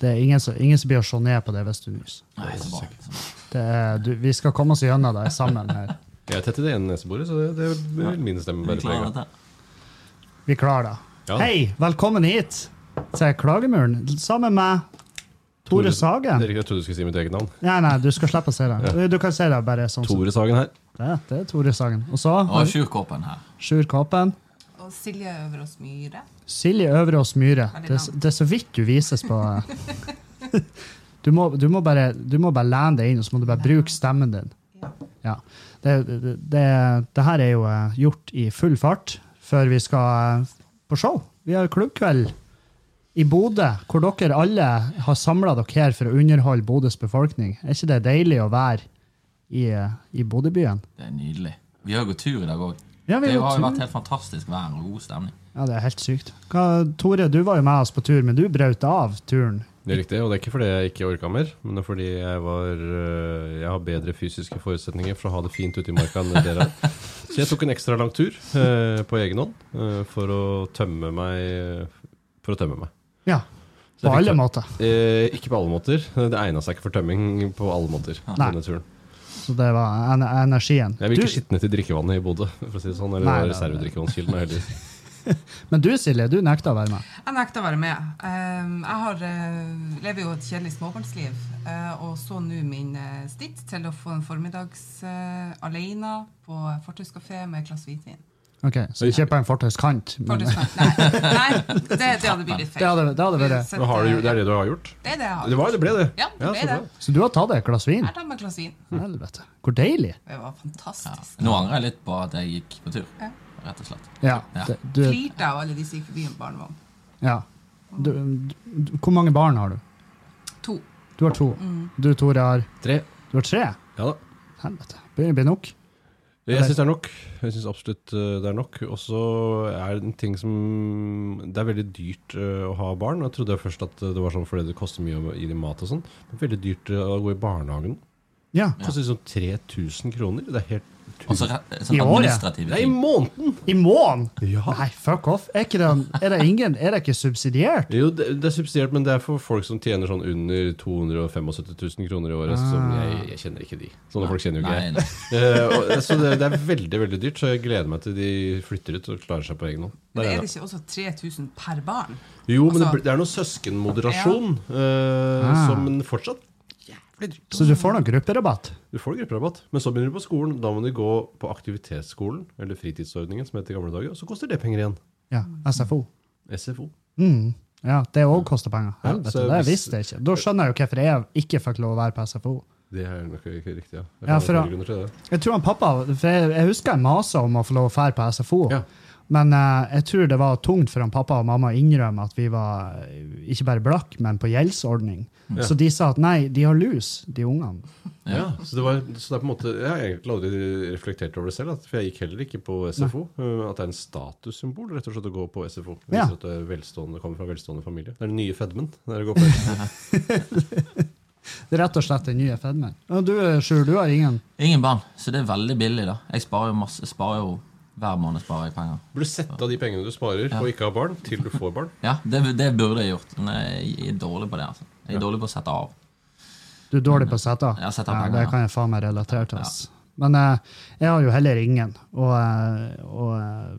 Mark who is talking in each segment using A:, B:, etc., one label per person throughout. A: Det er ingen som, ingen som blir å se ned på det hvis du nyser.
B: Nei, så bra.
A: Det er- du- Vi skal komme oss gjennom det sammen her.
C: Jeg er tett i det ene neseboret, så det, det vil min stemme
B: Vi
C: bære preg
B: klarer
C: av.
B: dette.
A: Vi klarer det.
C: Ja.
A: Hei, velkommen hit til Klagemuren sammen med Tore Sagen.
C: Erik, Jeg trodde du skulle si mitt eget navn.
A: Nei, nei, du skal slippe å si det. Du kan si det bare sånn som
C: Tore Sagen her.
A: det. Det er Tore Sagen. Og så
B: Og
A: har
B: Sjurkåpen her.
A: Sjur Kåpen.
D: Og Silje Øverås Myhre.
A: Silje Øverås Myhre.
D: Veldig
A: Det,
D: navn.
A: det er så vidt du vises på eh. Du må, du, må bare, du må bare lene deg inn, og så må du bare bruke stemmen din. Ja. Det, det, det, det her er jo eh, gjort i full fart før vi skal eh, på show. Vi har klubbkveld i Bodø, hvor dere alle har samla dere her for å underholde Bodøs befolkning. Er ikke det deilig å være i, eh, i Bodøbyen?
B: Det er nydelig. Vi har gått tur i dag òg.
A: Ja, vi
B: det
A: har gått
B: har jo
A: tur.
B: vært helt fantastisk vær og god stemning.
A: Ja, det er helt sykt. Hva, Tore, du var jo med oss på tur, men du brøt av turen.
C: Det er riktig, og det er ikke fordi jeg ikke orka mer, men det er fordi jeg var øh, Jeg har bedre fysiske forutsetninger for å ha det fint ute i marka enn dere har. Så jeg tok en ekstra lang tur øh, på egen hånd øh, for å tømme meg. øh, For å tømme meg.
A: Ja, på
C: Så jeg fikk
A: alle
C: tø-
A: måter.
C: Eh, ikke på alle måter. Det egna seg ikke for tømming på alle måter.
A: Nei.
C: denne turen.
A: Så det var en- energien.
C: Jeg vil ikke
A: Du-
C: skitne til drikkevannet i Bodø, for å si det sånn.
A: Nei,
C: Eller
A: nei, nei.
C: reservedrikkevannskilden. er heldig.
A: Men du, Silje, du nekta å være med.
D: Jeg nekter å være med. Ehm, Jeg har, eh, lever jo et kjedelig småbarnsliv, eh, og så nå min eh, stitt til å få en formiddags eh, alene på fortauskafé med et glass hvitvin.
A: Ok, Så ikke på en fortauskant. men- Det
D: Fortauskamp. Nei, nei det, det hadde blitt litt feil.
A: hadde, det hadde vært
D: Så
C: Men har du, det er
D: det
C: det du har gjort?
D: er det jeg har.
C: Det, var, det ble det?
D: Ja, det
C: Ja, så
D: ble det.
C: bra.
A: Så du har tatt deg et glass vin?
D: Jeg tar meg et glass vin.
A: Helvete. Hvor deilig.
D: Det var
B: Ja.
D: fantastisk.
B: Nå angrer jeg litt på at jeg gikk på tur.
D: Ja.
B: Rett og slett.
A: Ja.
B: Ja.
A: det- Du,
D: Flirte av alle de som gikk forbi med barnevogn.
A: ja. Du, du, hvor mange barn har du?
D: To.
A: Du har to. Du, Tore, har
C: Tre.
A: Du har tre?
C: Ja da.
A: Helvete. Begynner å bli nok.
C: Jeg syns det er nok. Jeg synes absolutt eh, det er nok. Og så er det en ting som Det er veldig dyrt eh, å ha barn. Jeg trodde først at det var sånn fordi det koster mye å gi dem mat og sånn. Men veldig dyrt eh, å gå i barnehagen.
A: Ja.
C: Det koster sånn 3000 kroner. Det er helt
B: Og så re- sånn
A: I år, ja.
B: administrative
C: Det er i
B: ting.
C: måneden!
A: I måneden!
C: Ja.
A: Nei, fuck off. Er, ikke det, er det ingen Er det ikke subsidiert?
C: Jo, det, det er subsidiert, men det er for folk som tjener sånn under 275 000 kroner i året. Som jeg, jeg kjenner ikke de. Sånne folk kjenner jo ikke
B: Nei,
C: jeg.
B: nei.
C: Eh, og- så det, det er veldig veldig dyrt, så jeg gleder meg til de flytter ut og klarer seg på egen hånd. Der
D: Men
C: er
D: er
C: jeg.
D: det ikke også 3000 per barn?
C: Jo, men det,
D: Altså-
C: blir- det er noe søskenmoderasjon eh,
A: Ah.
C: som men fortsatt jævlig dyrt.
A: Så du får noen grupperabatt?
C: Du får grupperabatt, men så begynner du på skolen. Da må du gå på aktivitetsskolen, eller fritidsordningen, som heter i gamle dager. Og så koster det penger igjen.
A: Ja. SFO.
C: SFO.
A: Mm. Ja, det òg koster penger.
C: Ja,
A: Helvete,
C: så
A: det
C: hvis-
A: visste jeg ikke. Da skjønner jeg jo hvorfor jeg ikke fikk lov å være på SFO.
C: Det er nok ikke riktig, ja.
A: Ja, for
C: Jeg fant
A: da-
C: flere grunner til det.
A: Jeg tror han pappa, for jeg, jeg husker jeg masa om å få lov å fære på SFO,
C: Ja.
A: men eh, jeg tror det var tungt for han pappa og mamma å innrømme at vi var eh, ikke bare blakk, men på gjeldsordning. Så de sa at nei, de har lus, de ungene.
C: Ja, så det, var, så det er på en måte Jeg har egentlig aldri reflektert over det selv, at, for jeg gikk heller ikke på SFO. eh, At det er en statussymbol rett og slett å gå på SFO. Det
A: Ja.
C: viser at du er velstående, kommer fra velstående familie. Det er den nye fedmen. Det er å gå på SFO.
A: Det er Rett og slett den nye fedmen. Og du, eh, Sjur, du har ingen.
B: Ingen barn, så det er veldig billig, da. Jeg sparer jo masse. Sparer jo, hver måned sparer jeg penger.
C: Burde sette av de pengene du sparer på å ikke ha barn, til du får barn.
B: Ja, det, det burde jeg gjort. Men jeg er dårlig på det. altså. Jeg er dårlig på å sette av.
A: Du er dårlig på å sette av.
B: Ja, sette av
A: Ja,
B: penger,
A: det
B: ja.
A: kan jeg faen meg relatere til. ass. Men eh, jeg har jo heller ingen. Og, eh, og, eh,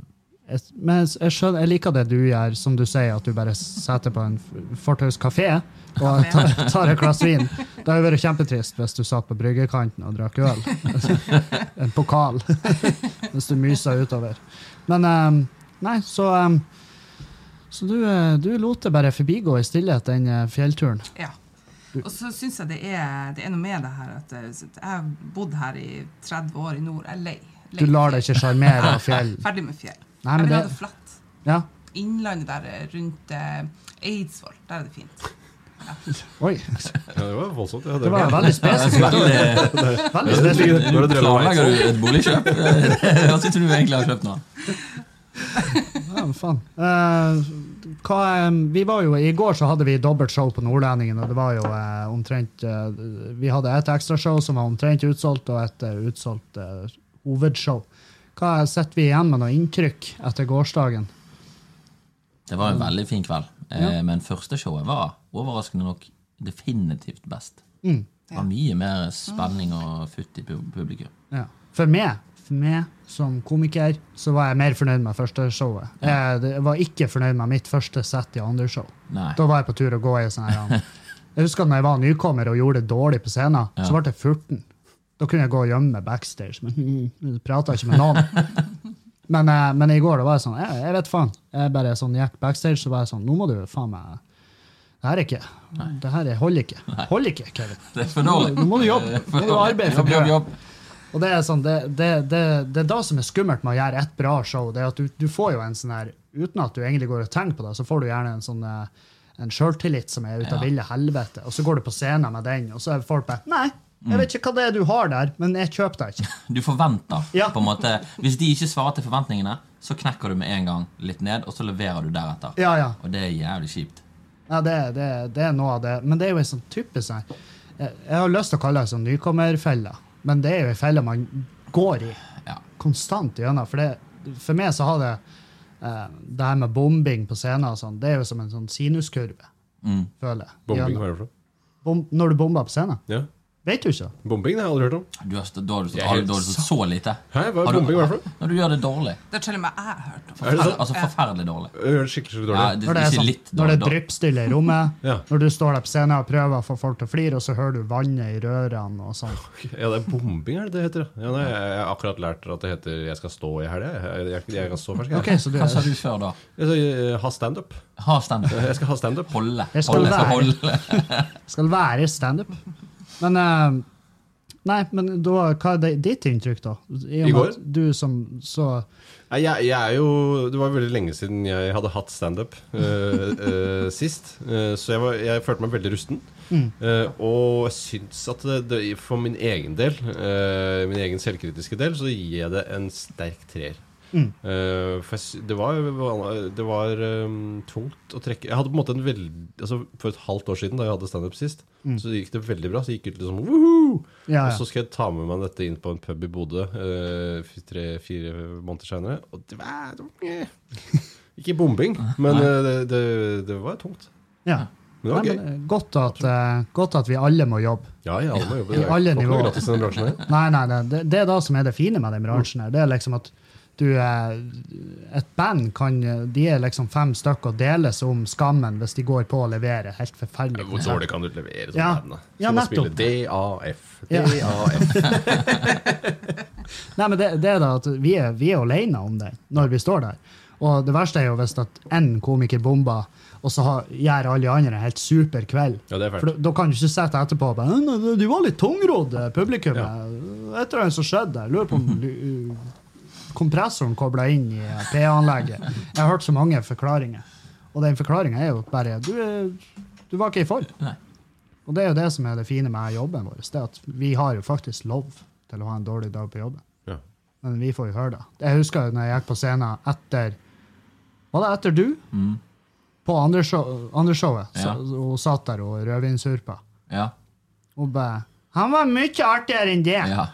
A: jeg, men jeg, jeg, skjønner, jeg liker det du gjør, som du sier, at du bare setter på en f- fortauskafé og tar, tar et glass vin. Det hadde vært kjempetrist hvis du satt på bryggekanten og drakk øl. en pokal. hvis du myser utover. Men eh, nei, så eh, så du, eh, du lot det bare forbigå i stillhet, den eh, fjellturen.
D: Ja. Og så syns jeg det er, det er noe med det her at eh, så jeg har bodd her i 30 år i nord. Jeg er lei. lei
A: Du lar deg ikke sjarmere av fjell.
D: Ferdig med fjell.
A: Nei,
D: jeg
A: men
D: vil ha
A: det-
D: det flatt.
A: Ja.
D: Innlandet der eh, rundt eh, Eidsvoll, der er det fint.
A: Oi,
C: Ja, det var voldsomt. Ja,
A: det var veldig spesifikt.
B: Veldig,
A: Veldig spesifikt.
C: Nå har du drømt meg,
B: planlegger du et boligkjøp? Hva syns du egentlig har kjøpt nå?
A: Ja, men faen. Eh, hva, eh, vi var jo, I går så hadde vi dobbelt show på Nordlendingen, og det var jo eh, omtrent eh, Vi hadde et ekstrashow som var omtrent utsolgt, og et eh, utsolgt eh, hovedshow. Hva Sitter vi igjen med noe inntrykk etter gårsdagen?
B: Det var en veldig fin kveld. Eh,
A: Mm. Ja.
B: Men første showet var overraskende nok definitivt best.
A: Mm.
B: Det var mye mer spenning og futt i pub- publikum.
A: Ja. For meg, for meg som komiker, så var jeg mer fornøyd med første showet. Jeg, det- var ikke fornøyd med mitt første sett i andre show.
B: Nei.
A: Da var jeg på tur å gå i sånn her ja. Jeg husker da jeg var nykommer og gjorde det dårlig på scenen,
B: Ja.
A: så ble jeg 14. Da kunne jeg gå og gjemme meg backstage, men jeg prata ikke med noen. Men, eh, men i går da var jeg sånn Jeg, jeg vet faen. Jeg bare sånn gikk backstage så var jeg sånn Nå må du faen meg Det her er ikke Det her er- holder ikke. Holder ikke, Kevin.
B: Det er for dårlig.
A: Nå må du jobbe. Nå må du arbeide for
B: jobb, jobb, jobb.
A: Og det er, sånn, det, det, det, det er da som er skummelt med å gjøre et bra show. det er at Du, du får jo en sånn her, uten at du egentlig går og tenker på det, så får du gjerne en sånn eh, en sjøltillit som er ut av
B: Ja.
A: ville helvete. Og så går du på scenen med den, og så er folk bare Nei, jeg vet ikke hva det er du har der, men jeg kjøper deg ikke.
B: Du forventer
A: Ja.
B: på en måte Hvis de ikke svarer til forventningene, så knekker du med en gang litt ned, og så leverer du deretter.
A: Ja, ja.
B: Og det er jævlig kjipt.
A: Ja, det, det, det er noe av det. Men det er jo en sånn typisk sånn Jeg, jeg har lyst til å kalle det en sånn nykommerfelle, men det er jo en felle man går i.
B: Ja.
A: konstant gjennom. For, det, for meg så har det eh, det her med bombing på scenen og sånn, det er jo som en sånn sinuskurve,
B: Mm.
A: føler jeg.
C: Bombing,
A: Gjennom-
C: hva er det for noe?
A: Bom, når du bomber på scenen.
C: Ja.
A: Vet du ikke?
C: Bombing det har jeg aldri hørt om.
B: Du har, stått- da har du stått,
C: Jeg er helt
B: da har du stått så lite.
C: Hæ, hva
B: Har
C: er
B: du-
C: bombing, hva er det for
B: Når
C: noe?
B: du gjør det dårlig.
D: Det har til og med jeg hørt om.
C: Er det sant?
B: Altså forferdelig dårlig.
C: Jeg gjør det skikkelig, skikkelig
B: Ja,
C: dårlig.
B: det,
A: Når det
B: ikke
A: er, sånn,
B: litt
A: når det
B: dårlig.
A: er dryppstille i rommet,
C: Ja.
A: når du står der på scenen og prøver å få folk til å flire, og så hører du vannet i rørene og sånn.
C: Ja, det er bombing, er det det heter? ja. Ja, nei, jeg jeg har akkurat lært at det heter 'jeg skal stå i helga'. Jeg, jeg, jeg er så fersk. Jeg,
A: Ok, så du,
B: Hva sa du før da?
C: jeg, skal, eh, ha standup.
B: Ha standup.
C: Jeg skal ha standup.
B: Holde.
A: Jeg skal
B: Holde.
A: være.
B: holde.
A: skal være standup. Men eh, Nei, men da, hva er det, ditt inntrykk, da? I og
C: I
A: med
C: går?
A: at du som så
C: Nei, jeg, jeg er jo Det var veldig lenge siden jeg hadde hatt standup uh, sist. Eh, så jeg, var, jeg følte meg veldig rusten. Eh, og jeg syns at det, det, for min egen del, eh, min egen selvkritiske del, så gir jeg det en sterk treer. Eh, for jeg, sy- det var, det var eh, tungt å trekke Jeg hadde på en måte en veldig altså For et halvt år siden, da jeg hadde standup sist, så gikk det veldig bra. Så gikk det liksom woohoo!
A: Ja,
C: Og
A: ja.
C: så skal jeg ta med meg dette inn på en pub i Bodø eh, tre-fire måneder senere. Og det var, det var eh, Ikke bombing, men eh, det, det, det var tungt.
A: ja.
C: Men det var
A: Nei,
C: gøy.
A: men, eh, godt, at, eh, godt at vi alle må jobbe.
C: Ja, ja, alle må jobbe.
A: I
C: Det er
A: alle
C: ikke noe
A: nivåer.
C: gratis i den bransjen her.
A: Nei, nei, nei. Det, det er det som er det fine med den bransjen. her. Det er liksom at du eh, Et band kan eh, De er liksom fem stykker og deles om skammen hvis de går på å levere helt forferdelig.
C: Hvor dårlig kan du levere sånn som
A: Ja.
C: band, da?
A: Ja,
C: Skal man spille
A: nettopp.
C: DAF.
A: Ja.
C: DAF.
A: Nei, men det, det er da at vi er, vi er alene om det når vi står der. Og det verste er jo hvis at én komiker bomber, og så har, gjør alle de andre en helt super kveld.
C: Ja, det er
A: For da,
C: fælt.
A: da kan du ikke sitte etterpå og bare «Nei, nei, Du var litt tungrodd, eh, publikum. eh,
C: Ja.
A: Jeg- Etter det som skjedde. Jeg lurer på om du- uh, kompressoren kobla inn i eh, PA-anlegget. Jeg har hørt så mange forklaringer. Og den forklaringa er jo bare du, eh, du var ikke i form.
B: Nei.
A: Og det er jo det som er det fine med jobben vår. Det er at vi har jo faktisk lov til å ha en dårlig dag på jobben.
C: Ja.
A: Men vi får jo høre det. Jeg husker jo når jeg gikk på scenen etter Var det etter du?
B: Mm.
A: På andre, show, andre showet. Så,
B: Ja.
A: hun satt der og rødvinsurpa.
B: Ja.
A: Hun bare Han var mye artigere enn det!
B: ja.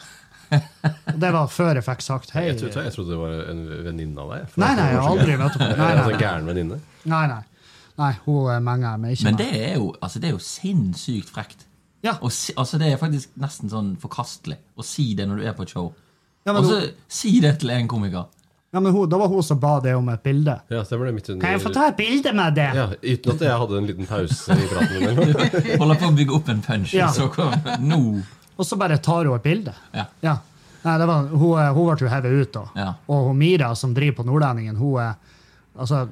A: Og det var før jeg fikk sagt hei.
C: Jeg trodde, jeg trodde det var en venninne av deg. for
A: Nei,
C: at
A: nei,
C: hun
A: jeg har
C: var så
A: aldri møtt henne.
C: gæren.
A: Nei,
C: Altså,
A: nei, nei.
C: gæren venninne.
A: nei, nei. nei hun eh, menger meg ikke.
B: Men
A: med.
B: det er jo, altså, det er jo sinnssykt frekt.
A: Ja.
B: Og si, altså, det er faktisk nesten sånn forkastelig å si det når du er på et show.
A: ja, men,
B: Og så
A: hun,
B: si det til en komiker.
A: ja, men hun, Da var hun som ba det om et bilde.
C: Ja, stemmer det. Midt under
A: Kan jeg få ta et bilde med det?
C: Ja, Uten at jeg hadde en liten pause i praten imellom.
B: Holder på å bygge opp en punch,
A: Ja.
B: og så kom nå.
A: Og så bare tar hun et bilde.
B: Ja.
A: Ja. Nei, det var, hun, eh, hun ble jo hevet ut, da.
B: Ja.
A: Og hun Mira, som driver på Nordlendingen, hun er altså,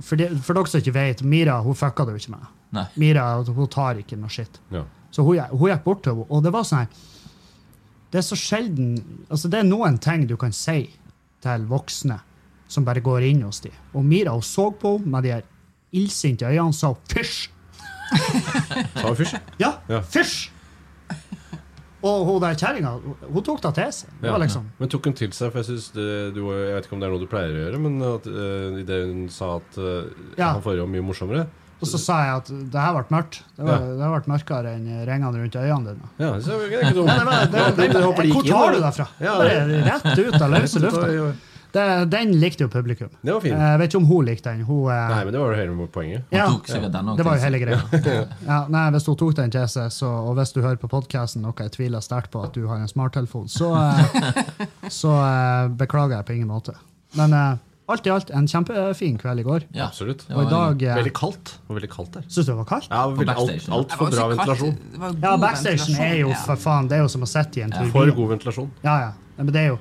A: for, de, for dere som ikke vet, Mira hun fucka det jo ikke med.
B: Nei.
A: Mira altså, hun tar ikke noe skitt.
C: Ja.
A: Så hun, gikk- hun gikk bort til henne, og det var sånn her Det er så sjelden altså Det er noen ting du kan si til voksne som bare går inn hos dem. Og Mira hun så på henne med de her illsinte øynene og sa 'fysj'.
C: Sa han fysj?
A: Ja,
C: Ja.
A: fysj! Og hun der kjerringa, hun tok det til seg. Det
C: Ja.
A: var liksom
C: Men tok hun til seg, for jeg synes det, du, jeg vet ikke om det er noe du pleier å gjøre, men at, eh, i det hun sa at eh,
A: Ja.
C: han forrige var mye morsommere
A: Og så sa jeg at det her ble mørkt. Det, var, det her ble mørkere enn ringene rundt øynene dine.
C: Ja, så er det ikke dumt.
A: Ja, det var, det, det,
C: Jeg håper det
A: hvor
C: gikk inn,
A: tar du
C: da.
A: det fra?
C: Ja,
A: Bare rett ut av løse lufta. Det, den likte jo publikum.
C: Det var fint.
A: Jeg vet ikke om hun likte den. Hun, eh,
C: Nei, men det var jo hele poenget.
B: Hun
A: ja,
B: tok sikkert denne
A: det var jo
B: også,
A: hele greia. Ja, nei, hvis hun tok den til seg, så, og hvis du hører på podkasten, noe jeg tviler sterkt på at du har en smarttelefon, så, eh, så eh, beklager jeg på ingen måte. Men eh, alt i alt en kjempefin kveld i går.
B: Ja.
C: Absolutt.
B: Det
A: Og i
B: var
A: dag eh,
C: Veldig kaldt. Det var veldig kaldt der.
A: Syns du det var kaldt?
C: Ja, veldig, alt,
B: backstagen, ja.
C: alt
D: Det var
C: for
D: også
C: bra
D: kaldt.
C: ventilasjon.
D: Det var
A: Ja,
D: god
A: backstagen
D: ventilasjon,
A: er jo
D: ja.
A: for faen Det er jo som å sitte i en turbin.
C: For god ventilasjon.
A: Ja, ja. Nei, Men det er jo,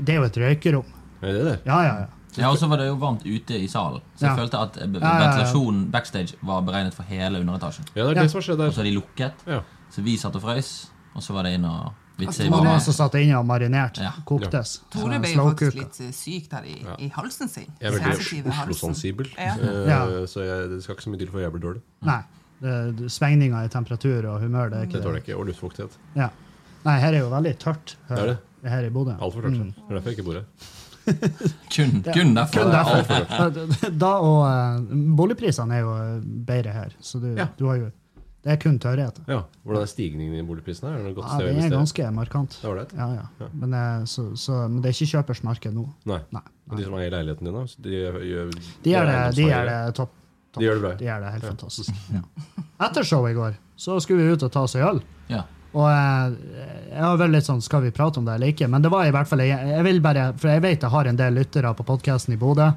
A: det er jo et røykerom.
C: Er det det?
A: Ja, ja, ja.
B: Ja, Og så var det jo varmt ute i salen, så jeg
A: Ja.
B: følte at eh,
A: ja, ja.
B: ventilasjonen backstage var beregnet for hele underetasjen.
C: Ja, det er
A: Ja.
C: det som har skjedd
B: Og
C: der.
B: så er de lukket,
C: Ja.
B: så vi satt og frøs, og så var det inn og vitse i
D: Og så var
A: Mamma
B: varmen.
A: som satt inne og marinert.
B: Ja.
A: Koktes.
D: Tore
A: Så
D: ble jo
A: slowkuka.
D: faktisk litt eh, syk der i, i halsen sin.
C: Jeg er veldig
D: Sensitive halsen.
C: Oslo-sensibel,
D: Ja.
C: eh,
A: Ja.
C: så jeg, det skal ikke så mye til for jeg blir dårlig.
A: Nei. det- det- Svingninger i temperatur og humør, det er
C: Det
A: ikke
C: tåler jeg ikke. Og luftfuktighet.
A: Ja. Nei, her er jo veldig tørt. Her,
C: Det er det.
A: her i Bodø.
C: Altfor tørt. Det er derfor jeg ikke bor her.
B: Kun, kun derfor.
A: Kun
B: Ja.
A: derfor. Da og eh, Boligprisene er jo eh, bedre her, så du,
C: Ja.
A: du har jo Det er kun tørrhet.
C: Ja, Hvordan er stigningen i boligprisene? Er det noe godt
A: Ja,
C: sted å
A: den er
C: investere?
A: ganske markant.
C: Det er ålreit.
A: Ja, ja. Men, eh, så, så, men det er ikke kjøpers marked nå.
C: Nei.
A: Nei.
C: Men de som eier leiligheten din, da? så De gjør
A: De gjør det, de gjør det
C: eiendomseiere.
A: topp. topp.
C: De gjør det bra.
A: De gjør det helt fantastisk. Ja. Etter showet i går så skulle vi ut og ta oss en øl.
B: Ja.
A: Og eh, jeg har vel litt sånn, skal vi prate om det eller ikke? Men det var i hvert fall, jeg, jeg vil bare, for jeg vet jeg har en del lyttere på podcasten i Bodø,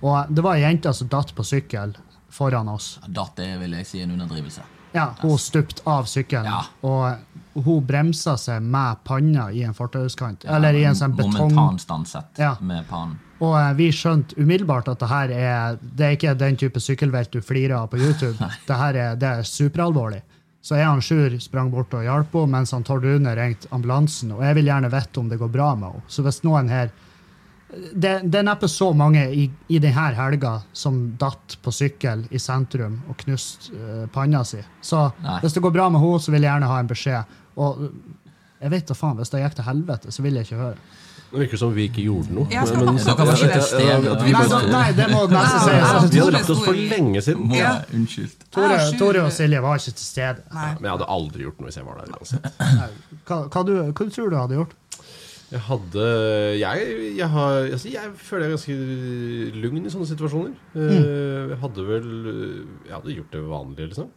A: og det var ei jente som datt på sykkel foran oss.
B: Datt er, vil jeg si, en underdrivelse.
A: Ja, hun stupte av sykkelen,
B: Ja.
A: og hun bremsa seg med panna i en fortauskant, eller i en sånn betong...
B: Momentan stanset
A: Ja.
B: med pannen.
A: Og eh, vi skjønte umiddelbart at det her er, det er ikke den type sykkelvelt du flirer av på YouTube. det her er, det er superalvorlig. Så jeg og Sjur sprang bort og hjalp henne, mens han Tord Rune ringte ambulansen. Og jeg vil gjerne vite om det går bra med henne. Så hvis noen her Det, det er neppe så mange i, i denne helga som datt på sykkel i sentrum og knuste eh, panna si. Så
B: Nei.
A: hvis det går bra med henne, så vil jeg gjerne ha en beskjed. Og eh, jeg vet da faen, hvis det gikk til helvete, så vil jeg ikke høre.
C: Det virker som vi ikke gjorde noe.
D: Ja,
C: men- men-
D: så kan man
C: Ja,
D: ikke
C: at-
B: stemme,
C: at- at vi
A: Nei,
C: bare-
A: da, nei det må nesten
D: Nei,
A: sies.
D: nei,
A: Altså,
C: Vi hadde lagt oss for lenge siden.
B: Må
C: Ja,
D: Ja.
B: jeg unnskyldt.
A: Tore,
D: Ja, sju-
A: Tore og Silje var ikke til stede.
D: Nei.
C: Men jeg hadde aldri gjort noe hvis jeg var der uansett.
A: Hva, hva, du, hva du tror du hadde gjort?
C: Jeg hadde Jeg, jeg, har, altså jeg føler jeg er ganske lugn i sånne situasjoner.
A: Mm.
C: Eh, Jeg hadde vel Jeg hadde gjort det vanlige, liksom.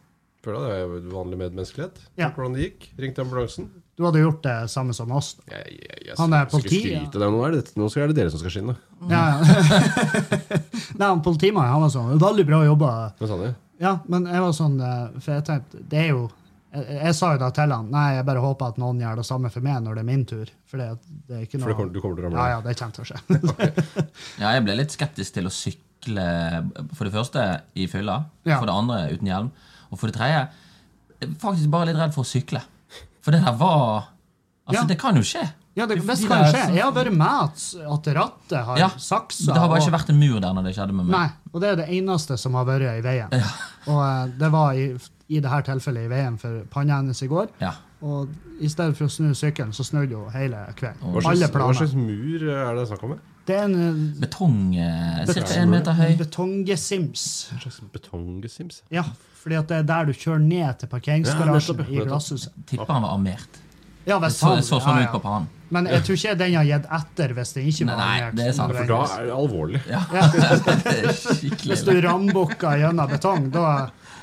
C: Føler jeg det er vanlig medmenneskelighet.
A: Ja.
C: Hørte Hvordan det gikk. Ringte ambulansen.
A: Du hadde gjort det samme som oss. da.
C: Jeg, jeg, jeg,
A: Han er
C: skal ikke
A: politi, ja.
C: skryte. Nei, Nå er det, nå skal- er det dere som skal skinne.
A: Ja. Nei, han Politimannen han var sånn Veldig bra jobba.
C: Hva sa de?
A: Ja, men jeg var sånn eh, For jeg tenkte Det er jo jeg, jeg sa jo da til han Nei, jeg bare håper at noen gjør det samme for meg når det er min tur. For det, det er ikke
C: For
A: noe
C: det kommer, du kommer til å ramle
A: Ja, ja, det kommer til å skje.
B: Ja, jeg ble litt skeptisk til å sykle for det første i fylla,
A: Ja.
B: for det andre uten hjelm, og for det tredje jeg er faktisk bare litt redd for å sykle. For det der var Altså,
A: Ja.
B: det kan jo skje.
A: Ja, det, hvis
B: Fordi
A: det kan
B: det er
A: skje.
B: sånn-
A: Jeg har vært med at, at rattet har
B: Ja,
A: saksa.
B: Det har bare
A: og-
B: ikke vært en mur der når det skjedde med meg.
A: Nei, og det er det eneste som har vært i veien. Og eh, det var i, i det her tilfellet i veien for panna hennes i går.
B: Ja.
A: Og i stedet for å snu sykkelen, så snudde hun hele kvelden.
C: Hva
A: Alle
C: slags, hva
A: planer.
C: slags mur er det snakk om? her?
A: Det er en
B: Betong eh, Cirka
C: Betong.
B: én meter høy.
A: eh, betongesims.
C: En slags betonggesims?
A: Ja, fordi at det er der du kjører ned til
C: Ja,
A: parkeringsgarasjen
C: nettopp,
A: i
C: nettopp.
A: glasshuset.
B: Tipper han var armert.
A: Ja,
B: Det
A: hvis
B: så,
A: han-
B: så sånn
A: ja,
B: ut på
A: ja.
B: pannen.
A: Men jeg tror ikke den har gitt etter hvis det ikke var
B: Nei,
A: armert,
B: det er sant.
C: For da er det alvorlig.
B: Det er Skikkelig.
A: Hvis du rambukka gjennom betong, da,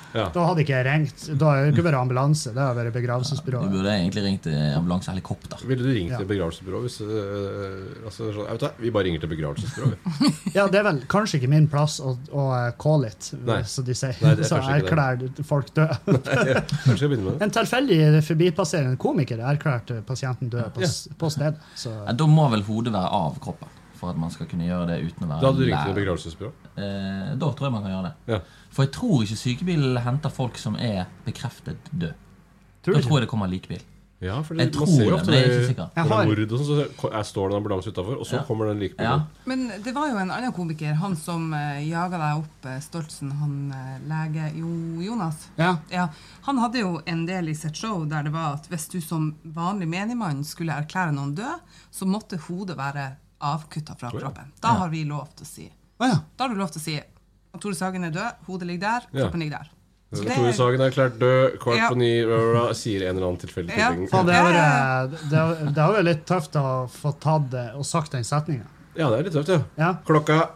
C: Ja.
A: da hadde ikke jeg ringt. Da hadde det ikke vært ambulanse, det hadde vært
B: Du
A: begravelsesbyrået.
B: burde egentlig ringt eh, ambulanse og helikopter.
C: Ville du ringt
A: Ja.
C: til begravelsesbyrået hvis øh, altså, sånn, jeg vet hva, Vi bare ringer til begravelsesbyrået. vi.
A: Ja, det er vel kanskje ikke min plass å, å eh, call it,
C: Nei.
A: som de sier.
C: Nei, det er
A: så
C: kanskje ikke
A: erklær folk død.
C: Kanskje jeg skal begynne med det?
A: En tilfeldig forbipasserende komiker erklærte pasienten død på, s- på stedet. Så
B: Ja, da må vel hodet være av kroppen for at man skal kunne gjøre det uten å være
C: Da hadde du
B: lær.
C: ringt til begravelsesbyrået?
B: Eh, da tror jeg man kan gjøre det.
C: Ja.
B: For jeg tror ikke sykebil henter folk som er bekreftet død.
A: tror
B: Da
A: du ikke?
B: tror jeg det kommer likbil.
C: Ja, for
B: Jeg
C: det,
B: tror
C: man ser jo
B: det,
C: ofte
B: men jeg er
C: det-
B: ikke sikker.
A: Jeg
C: når det
A: har-
C: er mord og sånn, så er- står det en ambulanse utafor, og så
B: Ja.
C: kommer den like på
B: Ja.
C: døren.
D: Men det var jo en annen komiker, han som uh, jaga deg opp, eh, Stoltsen, han eh, lege Jo Jonas.
A: Ja.
D: Ja, Han hadde jo en del i sitt show der det var at hvis du som vanlig menigmann skulle erklære noen død, så måtte hodet være avkutta fra
C: ja.
D: kroppen. Da har vi lov til å si
A: Å ja.
D: Da har du lov til å si at Tore Sagen er død, hodet ligger der,
C: Ja.
D: kroppen ligger der. Så det-
C: Tore Sagen er erklært død, kvart
D: Ja.
C: på ni, bla, bla, bla, sier en eller annen tilfeldig
D: Ja.
C: tulling.
A: Faen, det har
D: Ja,
A: vært- eh, det har- det har vært litt tøft å få tatt det og sagt den setninga.
C: Ja, det er litt tøft, ja.
A: Ja.
C: Klokka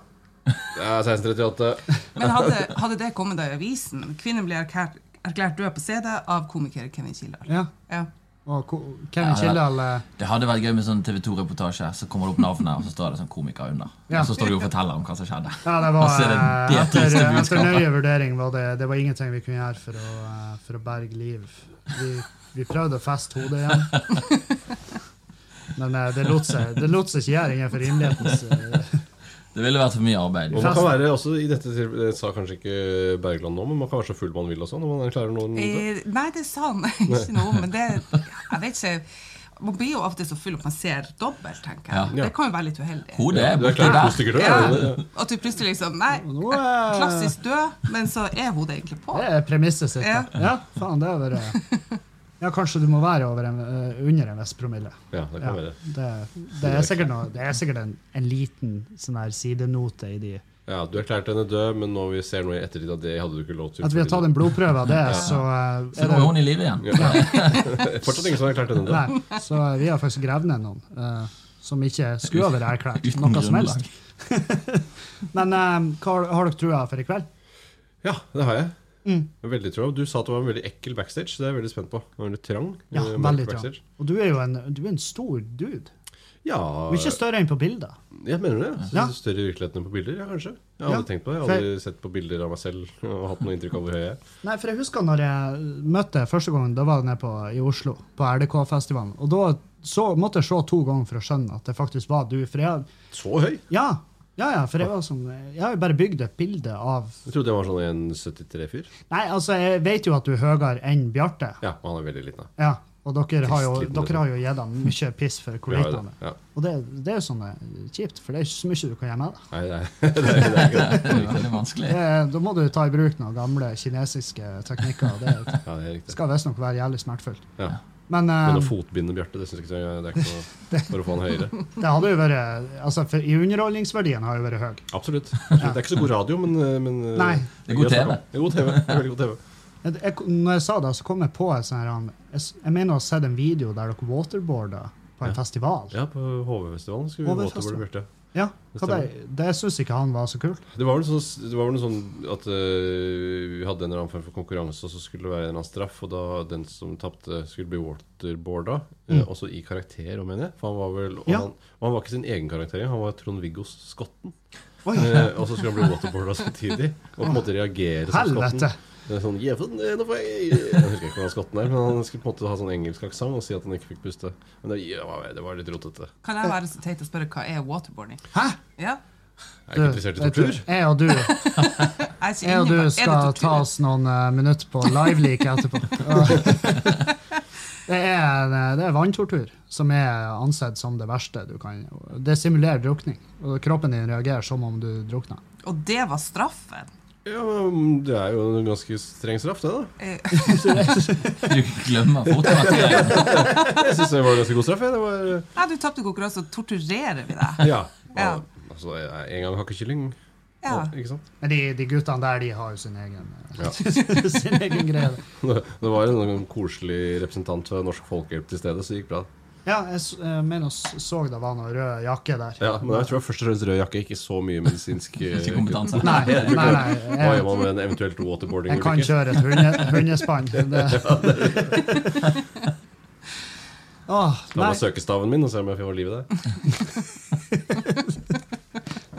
C: Det er 16.38.
D: Men hadde, hadde det kommet da i avisen Kvinnen ble erklært, erklært død på CD av komiker Kevin Kildahl.
A: ja.
D: Ja.
A: Og ko- Kevin
B: Ja, ja.
A: Kildahl eh,
B: Det hadde vært gøy med sånn TV 2-reportasje. Så kommer det opp navnet, og så står det sånn komiker under.
A: Ja.
B: Og så står de og forteller om hva som skjedde.
A: Ja, det
B: Og
A: var,
B: så er det det
A: eh, etter,
B: triste
A: etter
B: budskapet.
A: nøye vurdering var det, det var ingenting vi kunne gjøre for å, eh, for å berge liv. Vi, vi prøvde å feste hodet igjen. Men eh, det lot seg, det lot seg ikke gjøre innenfor rimelighetens eh,
B: Det ville vært for mye arbeid.
C: Og man kan være også i dette til- Det sa kanskje ikke Bergland nå, men man kan være så full man vil også når man erklærer noen død.
D: Eh, nei, det sa han ikke noe om, men det Jeg vet ikke Man blir jo av og til så full at man ser dobbelt, tenker jeg.
C: Ja.
D: Det kan jo være litt uheldig.
B: Hodet er
C: Du
B: borti
C: erklærer to
B: der.
C: stykker død.
D: Ja.
C: er det det?
D: At du plutselig liksom Nei,
A: nå er-
D: klassisk død, men så er hodet egentlig på.
A: Det er premisset sitt. da. Ja, faen, det er bare Ja, kanskje du må være over en, eh, under en viss promille.
C: Ja, det
A: Ja,
C: kan være.
A: det, det er sikkert, noe, det er sikkert en, en liten sånn her sidenote i de
C: Ja, Du erklærte henne død, men når vi ser noe i ettertid at det hadde du ikke lov til.
A: At vi har tatt en blodprøve av det, så eh,
B: Så
A: er
B: nå er
A: det
B: hun i live igjen.
C: Fortsatt ingen som har erklært henne død.
A: Nei, så vi har faktisk gravd ned noen eh, som ikke skulle ha vært erklært
B: Uten
A: noe som
B: grunnlag.
A: helst. Men eh, hva har- har dere trua for i kveld?
C: Ja, det har jeg.
A: Mm.
C: Veldig tro. Du sa at det var en veldig ekkel backstage, så det er jeg veldig spent på. Det var Veldig trang.
A: Ja,
C: eh,
A: veldig trang.
C: backstage.
A: Og du er jo en, du er en stor dude.
C: Ja,
A: Du er ikke større enn på bilder.
C: jeg mener det. Jeg synes
A: Ja.
C: det er Større i virkeligheten enn på bilder, ja, kanskje. Jeg har
A: Ja.
C: aldri tenkt på det. Jeg har aldri sett på bilder av meg selv og hatt noe inntrykk av hvor høy jeg er.
A: Nei, for jeg husker når jeg møtte deg første gang, da var jeg nede på, i Oslo, på RDK-festivalen. Og da så, måtte jeg se to ganger for å skjønne at det faktisk var du. For jeg,
C: Så høy!
A: ja, ja, ja, for jeg var sånn, jeg har jo bare bygd et bilde av
C: Jeg trodde jeg var sånn 1,73-fyr.
A: Nei, altså, jeg vet jo at du er høyere enn Bjarte.
C: Ja, og han er veldig liten. da.
A: Ja, og dere har jo,
C: Fristliten,
A: dere har jo gitt ham mye piss for hvor
C: Vi har jo
A: liten han
C: det.
A: er.
C: Ja.
A: Og det, det er jo sånn eh, kjipt, for det er ikke så mye du kan gjøre med det.
C: Nei, det er, det er, det er ikke det.
B: Det er veldig vanskelig.
A: det. er- Da må du ta i bruk noen gamle kinesiske teknikker. og Det
C: Ja, det er riktig.
A: skal visstnok være jævlig smertefullt.
C: Ja.
A: Men eh,
C: Men å fotbinde Bjarte, det synes jeg ikke det er ikke noe for å få han høyere.
A: det hadde jo vært altså, for, I underholdningsverdien har jo vært høy.
C: Absolutt. Det er ikke så god radio, men, men eh,
A: Nei.
B: Det er god TV.
C: Det er god TV. Det er veldig god TV.
A: Jeg, jeg, når jeg sa det, så kom jeg på en sånn her han- Jeg, s- jeg mener å ha sett en video der dere waterboarda på en
C: Ja.
A: festival.
C: Ja, på HV-festivalen skulle vi
A: HV-festivalen.
C: waterboarde Bjarte.
A: Ja,
C: Det
A: hva det, det syns ikke han var så kult.
C: Det var vel sånn, det var vel noe sånn at eh, vi hadde en eller annen form for konkurranse, og så skulle det være en eller annen straff, og da den som tapte, skulle bli waterboarda. eh, Også i karakter, om mener jeg. For han var vel og
A: Mm. Ja.
C: han, og han var ikke sin egen karakter, engang, han var Trond-Viggo Skotten.
A: Oi,
C: Eh, og så skulle han bli waterboarda samtidig, og på en måte reagere som
A: helvete!
C: Skotten. Det er Sånn, «Jævlen, eh, nå får jeg Jeg husker ikke hvordan Skotten er, men han skulle på en måte ha sånn engelsk aksent og si at han ikke fikk puste. Men det, ja, det var litt rotete.
D: Kan jeg være så teit og spørre hva er waterboarding?
A: Hæ?
D: Ja,
C: Jeg er ikke interessert i
A: jeg tror-
C: tortur.
A: Jeg og du
D: jeg er ikke
A: Jeg
D: inne
A: og
D: på-
A: du
D: er det
A: skal
D: tortur?
A: ta oss noen eh, minutter på live-like etterpå. Ja. det er, eh, det er vanntortur, som er ansett som det verste du kan Det simulerer drukning, og kroppen din reagerer som om du drukner.
D: Og det var straffen?
C: Ja, men Det er jo en ganske streng straff, det, da.
D: Eh,
B: Du glemmer fort materien.
C: Jeg syns det var ganske god straff. jeg. Det var, eh,
D: Nei, du tapte konkurransen, så torturerer vi deg.
C: ja.
D: Ja.
C: Altså, en gang hakkekylling,
D: Ja.
C: ikke sant?
A: Men de, de guttene der, de har jo sin egen, eh,
C: Ja.
A: sin egen greie.
C: Det det var en sånn koselig representant fra Norsk Folkehjelp til stede, så det gikk bra.
A: Ja, jeg s- eh, mener jeg så det var noen rød jakke der.
C: Ja, men jeg tror jeg først og fremst rød jakke, ikke så mye medisinsk eh,
B: Ikke kompetanse.
A: Nei, nei, nei.
C: Hva gjør
A: Jeg,
C: man med en eventuelt
A: jeg kan
C: waterboarding-ulykke?
A: kjøre et hunde, hundespann. Det. Åh,
C: La
A: nei.
C: meg søke staven min og se om jeg får liv i det.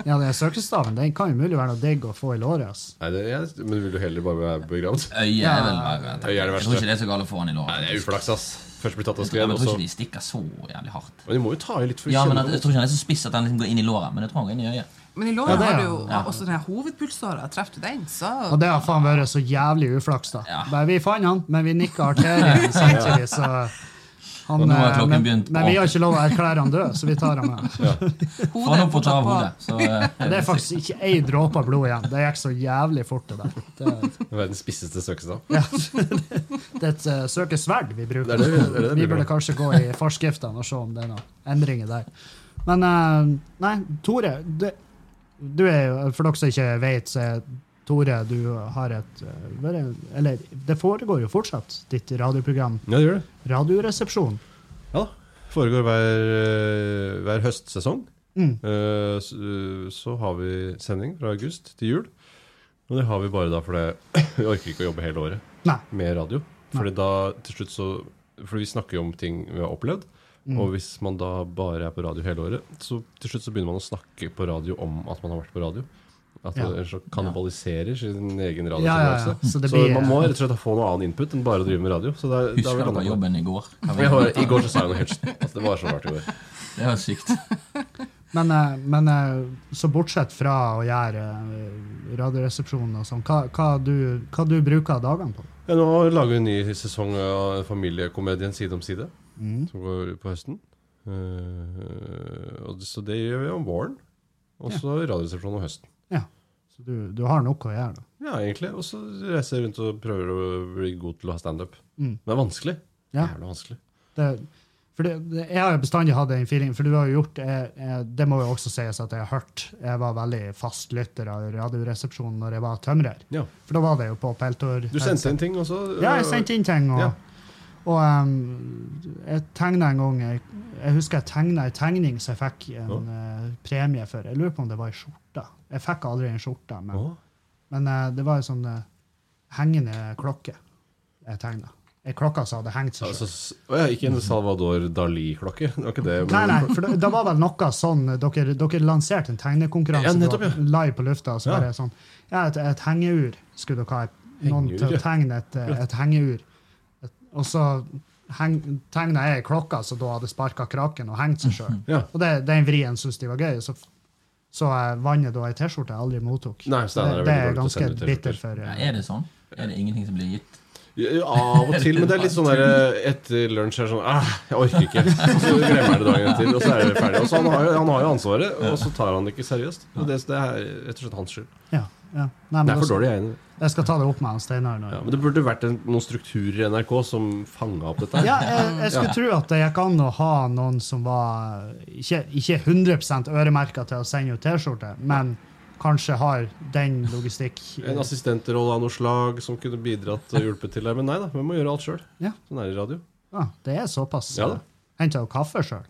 A: Ja, den søkestaven den kan jo mulig være noe digg å få i låret. ass.
C: Nei, det er, men vil du heller bare være begravd?
B: Øyet er vel verre.
C: Øyet er det
B: Jeg
C: verste.
B: tror ikke det er så galt å få han i
C: Nei,
B: låret.
C: det er uflaks, ass. Først blir tatt av
B: Jeg
C: skred, og
B: tror
C: så
B: ikke de stikker så jævlig hardt.
C: Men de må jo ta i litt for å
B: Ja, men
C: kjenne
B: at, Jeg tror ikke han er så spiss at han liksom går inn i låret, men jeg tror han går inn i øyet.
D: Men i
A: Ja,
D: loven
A: det er
D: har du jo
A: jo-
D: ja, også den her hovedpulsåra. Treffer du den, så
A: Og det har faen vært så jævlig uflaks, da.
B: Ja.
A: Bare, vi fant han, men vi nikka arterien samtidig, så Han,
B: Og nå har
A: eh,
B: klokken
A: men,
B: begynt å
A: men vi har ikke lov å erklære han død, så vi tar han med.
B: Få
D: Hodet
B: han
D: er
B: opp og ta av hodet.
D: fortsatt
B: Så, eh,
A: Det er faktisk ikke ei dråpe av blod igjen. Det gikk så jævlig fort, det der. Det,
C: Verdens spisseste søkestad.
A: ja. det er et eh, søke sverd vi bruker.
C: Det er det vi- det er det vi
A: vi burde
C: bruker.
A: kanskje gå i forskriftene og se om det er noen endringer der. Men eh, nei, Tore, du, du er jo For dere som ikke vet, så er Tore, du har et eh, hva er det- Eller det foregår jo fortsatt, ditt radioprogram
C: Ja, det gjør det.
A: Radioresepsjon.
C: Ja da. Foregår hver, eh, hver høstsesong.
A: Mm.
C: Eh, Så, så har vi sending fra august til jul. Og det har vi bare da fordi vi orker ikke å jobbe hele året.
A: Nei.
C: med radio. Fordi da til slutt så For vi snakker jo om ting vi har opplevd.
A: Mm.
C: Og hvis man da bare er på radio hele året, så til slutt så begynner man å snakke på radio om at man har vært på radio. At
A: Ja.
C: man ellers så kannibaliserer sin egen
A: Ja, ja,
C: radiotilværelse.
A: ja. Så det
C: Så
A: blir
C: man må rett og slett få noe annen input enn bare å drive med radio. Så det er, det er
B: Husker
C: vel
B: dere
C: annet.
B: jobben i går? Hva var
C: Jeg har,
B: det?
C: I går så sa jeg noe helt altså, Det var så rart i går.
B: Det var sykt.
A: Men, eh, men eh, så bortsett fra å gjøre eh, Radioresepsjonen og sånn, hva, hva, du- hva du bruker dagene på?
C: Ja, nå lager vi en ny sesong av familiekomedien Side om side,
A: Mm.
C: som går på høsten. Eh, og det, så det gjør vi om våren. Og så Radioresepsjonen om høsten.
A: Ja. Så du, du har noe å gjøre, da.
C: Ja, egentlig. Og så reiser jeg rundt og prøver å bli god til å ha standup.
A: Mm.
C: Det er vanskelig.
A: Ja.
C: Jævla vanskelig.
A: Det, for det, det, jeg har jo bestandig hatt den feelingen, for du har jo gjort jeg, jeg, Det må jo også sies at jeg har hørt Jeg var veldig fast lytter av Radioresepsjonen når jeg var tømrer.
C: Ja.
A: For da var det jo på peltor.
C: Du sendte inn ting også?
A: Ja, jeg sendte inn ting. Og,
C: Ja.
A: og em, jeg tegna en gang Jeg, jeg husker jeg tegna en tegning som jeg fikk en eh, premie for. Jeg lurer på om det var ei skjorte. Jeg fikk aldri en skjorte, men,
C: Å,
A: men eh, det var ei sånn eh, hengende klokke jeg tegna. Ei klokke som hadde hengt seg selv.
C: altså, s- å ja, ikke en Salvador Dali-klokke. Det var ikke det.
A: Nei,
C: men-
A: nei, for det, det var vel noe sånn Dere, dere lanserte en tegnekonkurranse
C: Ja, nettopp,
A: på-
C: ja.
A: live på lufta. og Så
C: Ja.
A: bare sånn, ja, et, et hengeur skulle dere ha. et- Noen
C: Hengeur,
A: til
C: ja.
A: å tegne et, eh, et hengeur. Et- Og så heng, tegna jeg klokka som da hadde sparka kraken og hengt seg sjøl.
C: Ja.
A: Og det, den vrien syntes de var gøy. Så, så jeg vant jeg da ei T-skårte jeg aldri mottok.
C: Nei, Steinar
A: det,
C: er
A: det er
C: veldig dårlig til å
A: ganske
C: sende ut
A: bitter
C: T-skjorter.
A: for
B: Ja,
A: eh,
B: er det sånn? Er det ingenting som blir gitt?
C: Ja, Av og til, men det er litt sånn der eh, etter lunsj er det sånn ah, Jeg orker ikke. Og Så glemmer jeg det dagen etter, og så er det ferdig. Og så han, har jo, han har jo ansvaret, og så tar han det ikke seriøst. Og det, det er rett og slett hans skyld.
A: ja, ja. Nei, men
C: Det er for
A: også-
C: dårlig, jeg er enig.
A: Jeg skal ta det opp med han Steinar. når-
C: Ja, men det burde vært en, noen strukturer i NRK som fanga opp dette. her.
A: Ja, jeg, jeg skulle tro at det gikk an å ha noen som var ikke, ikke 100 øremerka til å sende ut T-skjorte, men kanskje har den logistikk
C: En assistentrolle av noe slag som kunne bidratt og hjulpet til der. Men nei da, vi må gjøre alt sjøl.
A: Ja.
C: Sånn er det i radio.
A: ah, Det er såpass.
C: Ja da.
A: Henta jo kaffe sjøl.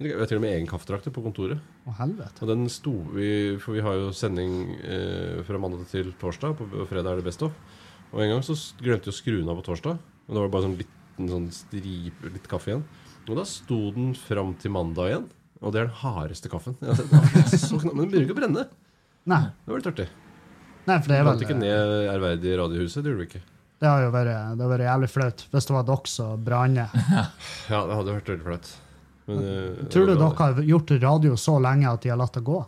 C: Vi har til og med egen kaffetrakter på kontoret.
A: Å, helvete.
C: Og den sto vi, For vi har jo sending eh, fra mandag til torsdag, på- og fredag er det best of. Og en gang så s- glemte vi å skru den av på torsdag. Og da var det bare sånn liten sånn stripe, litt kaffe igjen. Og da sto den fram til mandag igjen. Og det er den hardeste kaffen. Jeg har sett. Den var så knapp, Men den begynner ikke å brenne.
A: Nei,
C: Det var litt artig.
A: nei, for det
C: Vi
A: er
C: brant ikke
A: vel
C: ned ærverdige Radiohuset. Det gjorde vi ikke.
A: Det har jo vært, det har vært jævlig flaut hvis det var dere som brant ned.
C: Ja, det hadde vært veldig flaut. Men, eh, det
A: Tror du
C: var bra,
A: dere
C: det.
A: har gjort radio så lenge at de har latt det gå?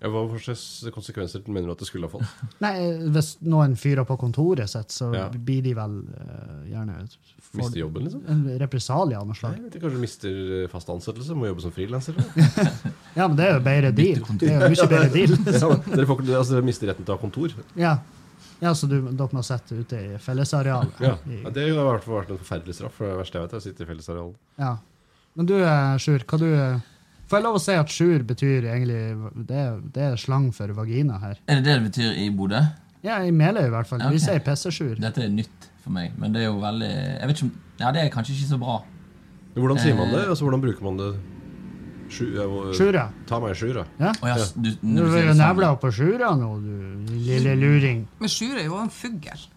C: Ja, Hva for slags konsekvenser mener du at det skulle ha fått?
A: Nei, hvis noen fyrer på kontoret sitt, så
C: Ja.
A: blir de vel eh, gjerne får-
C: Mister jobben, liksom?
A: En represalie av noe
C: Nei,
A: slag.
C: jeg vet ikke, Kanskje du mister eh, fast ansettelse? Må jobbe som frilanser?
A: Ja, men det er jo bedre deal. Det er jo mye bedre deal.
C: dere, får ikke- altså, dere mister retten til å ha kontor?
A: Ja, ja så du, dere må sette ute i fellesarealet.
C: Ja.
A: I-
C: Det har i hvert fall vært en forferdelig straff. For det verste jeg vet, er å sitte i fellesareal.
A: ja. Men du, eh, Sjur, hva du eh, Får jeg lov å si at Sjur betyr egentlig Det, er- det er slang for vagina her.
B: Er det det det betyr i Bodø?
A: Ja, i Meløy i hvert fall.
B: Ok.
A: Vi sier pissesjur.
B: Dette er nytt for meg, men det er jo veldig Jeg vet ikke om Ja, det er kanskje ikke så bra.
C: Men Hvordan sier man det? Altså, hvordan bruker man det? Sju, jeg må-
A: Sjura.
C: Ta meg i sjur, da.
A: Ja.
B: Å ja, s- du,
A: Du
B: når du
A: er
B: sier
A: jo
B: det
A: nevla
B: sammen.
A: opp på sjura nå, du lille luring.
D: Men sjur er jo en fugl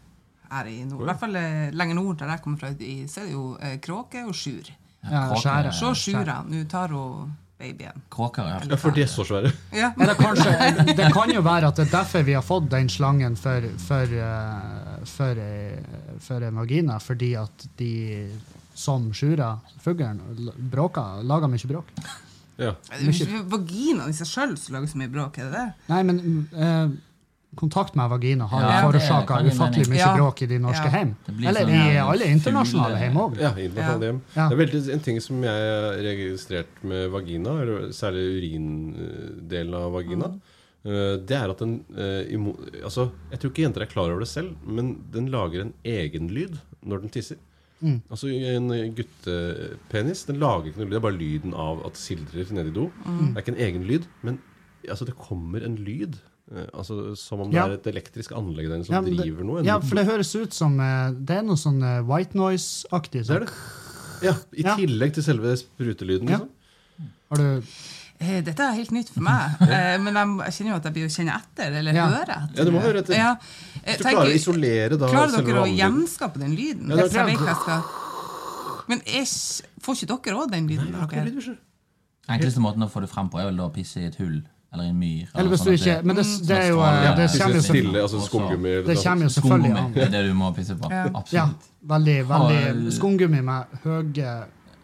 D: her i nord. I hvert fall eh, lenger nord der jeg kommer fra, i- så er det jo eh, kråke og sjur.
A: Ja,
B: kråke.
A: skjære.
D: Se sjura, nå tar hun babyen.
B: Kråker, ja.
C: Ja, for de er så svære.
D: Ja.
A: Men det, kanskje, det kan jo være at det er derfor vi har fått den slangen for, for, eh, for, eh, for en vagina. Fordi at de som sjura fuglen l- bråker, lager mye bråk.
C: Ja.
D: Det er jo ikke Vaginaen i seg sjøl som lager så mye bråk, er det det?
A: Nei, men mm, eh, kontakt med vagina har
B: Ja,
A: jo
B: det er-
A: forårsaka
B: kan jeg
A: ufattelig
B: mene.
A: mye
D: Ja.
A: bråk i de norske
D: Ja.
A: hjem.
B: Det blir
A: Eller
B: sånn
A: i
B: her
A: alle internasjonale
B: fugle-
A: hjem òg.
C: Ja, internasjonale hjem.
A: Ja.
C: Det er veldig en ting som jeg har registrert med vagina, eller særlig urindelen av vagina.
A: Mm.
C: eh, Det er at den eh, imo- altså, Jeg tror ikke jenter er klar over det selv, men den lager en egen lyd når den tisser.
A: Mm.
C: Altså En guttepenis Den lager ikke noe lyd, det er bare lyden av at det sildrer nedi do.
A: Mm.
C: Det er ikke en egen lyd, men altså, det kommer en lyd. eh, Altså Som om det
A: Ja.
C: er et elektrisk anlegg der inne som
A: Ja, men det-
C: driver noe. En,
A: ja, for det høres ut som eh, Det er noe sånn eh, white noise-aktig.
C: det
A: sånn.
C: er det. Ja, I
A: Ja.
C: tillegg til selve sprutelyden.
A: Ja.
C: Liksom.
A: Har du
D: Eh, Dette er helt nytt for meg, eh, men jeg, jeg kjenner jo at jeg blir å kjenne etter, eller
A: Ja.
D: høre etter.
C: Ja, du må høre etter.
D: Ja.
C: Hvis
D: Jeg
C: du
D: tenker-
C: klarer å isolere da
D: Klarer
C: selve
D: dere å
C: vannlyden.
D: gjenskape den lyden?
C: Ja, det er
D: Hvis jeg vet hva jeg skal Men er ikke, får ikke dere òg den lyden?
C: Det er ikke noe
D: Dere?
C: lyd, unnskyld.
B: Enkleste måten å få det frem på er vel da å pisse i et hull eller i en myr.
A: Eller hvis du
B: sånn at
A: ikke Men det, det er jo eh,
B: Ja,
A: Det kommer jo,
B: hvis
C: Hvis det er
A: selv-
C: stille, altså skumgummi eller
A: det
C: noe
A: kommer jo
B: Skumgummi
A: selvfølgelig an.
B: det er det du må pisse på.
D: Ja.
A: Ja,
B: Absolutt.
A: veldig,
B: Har-
A: veldig Skumgummi med høye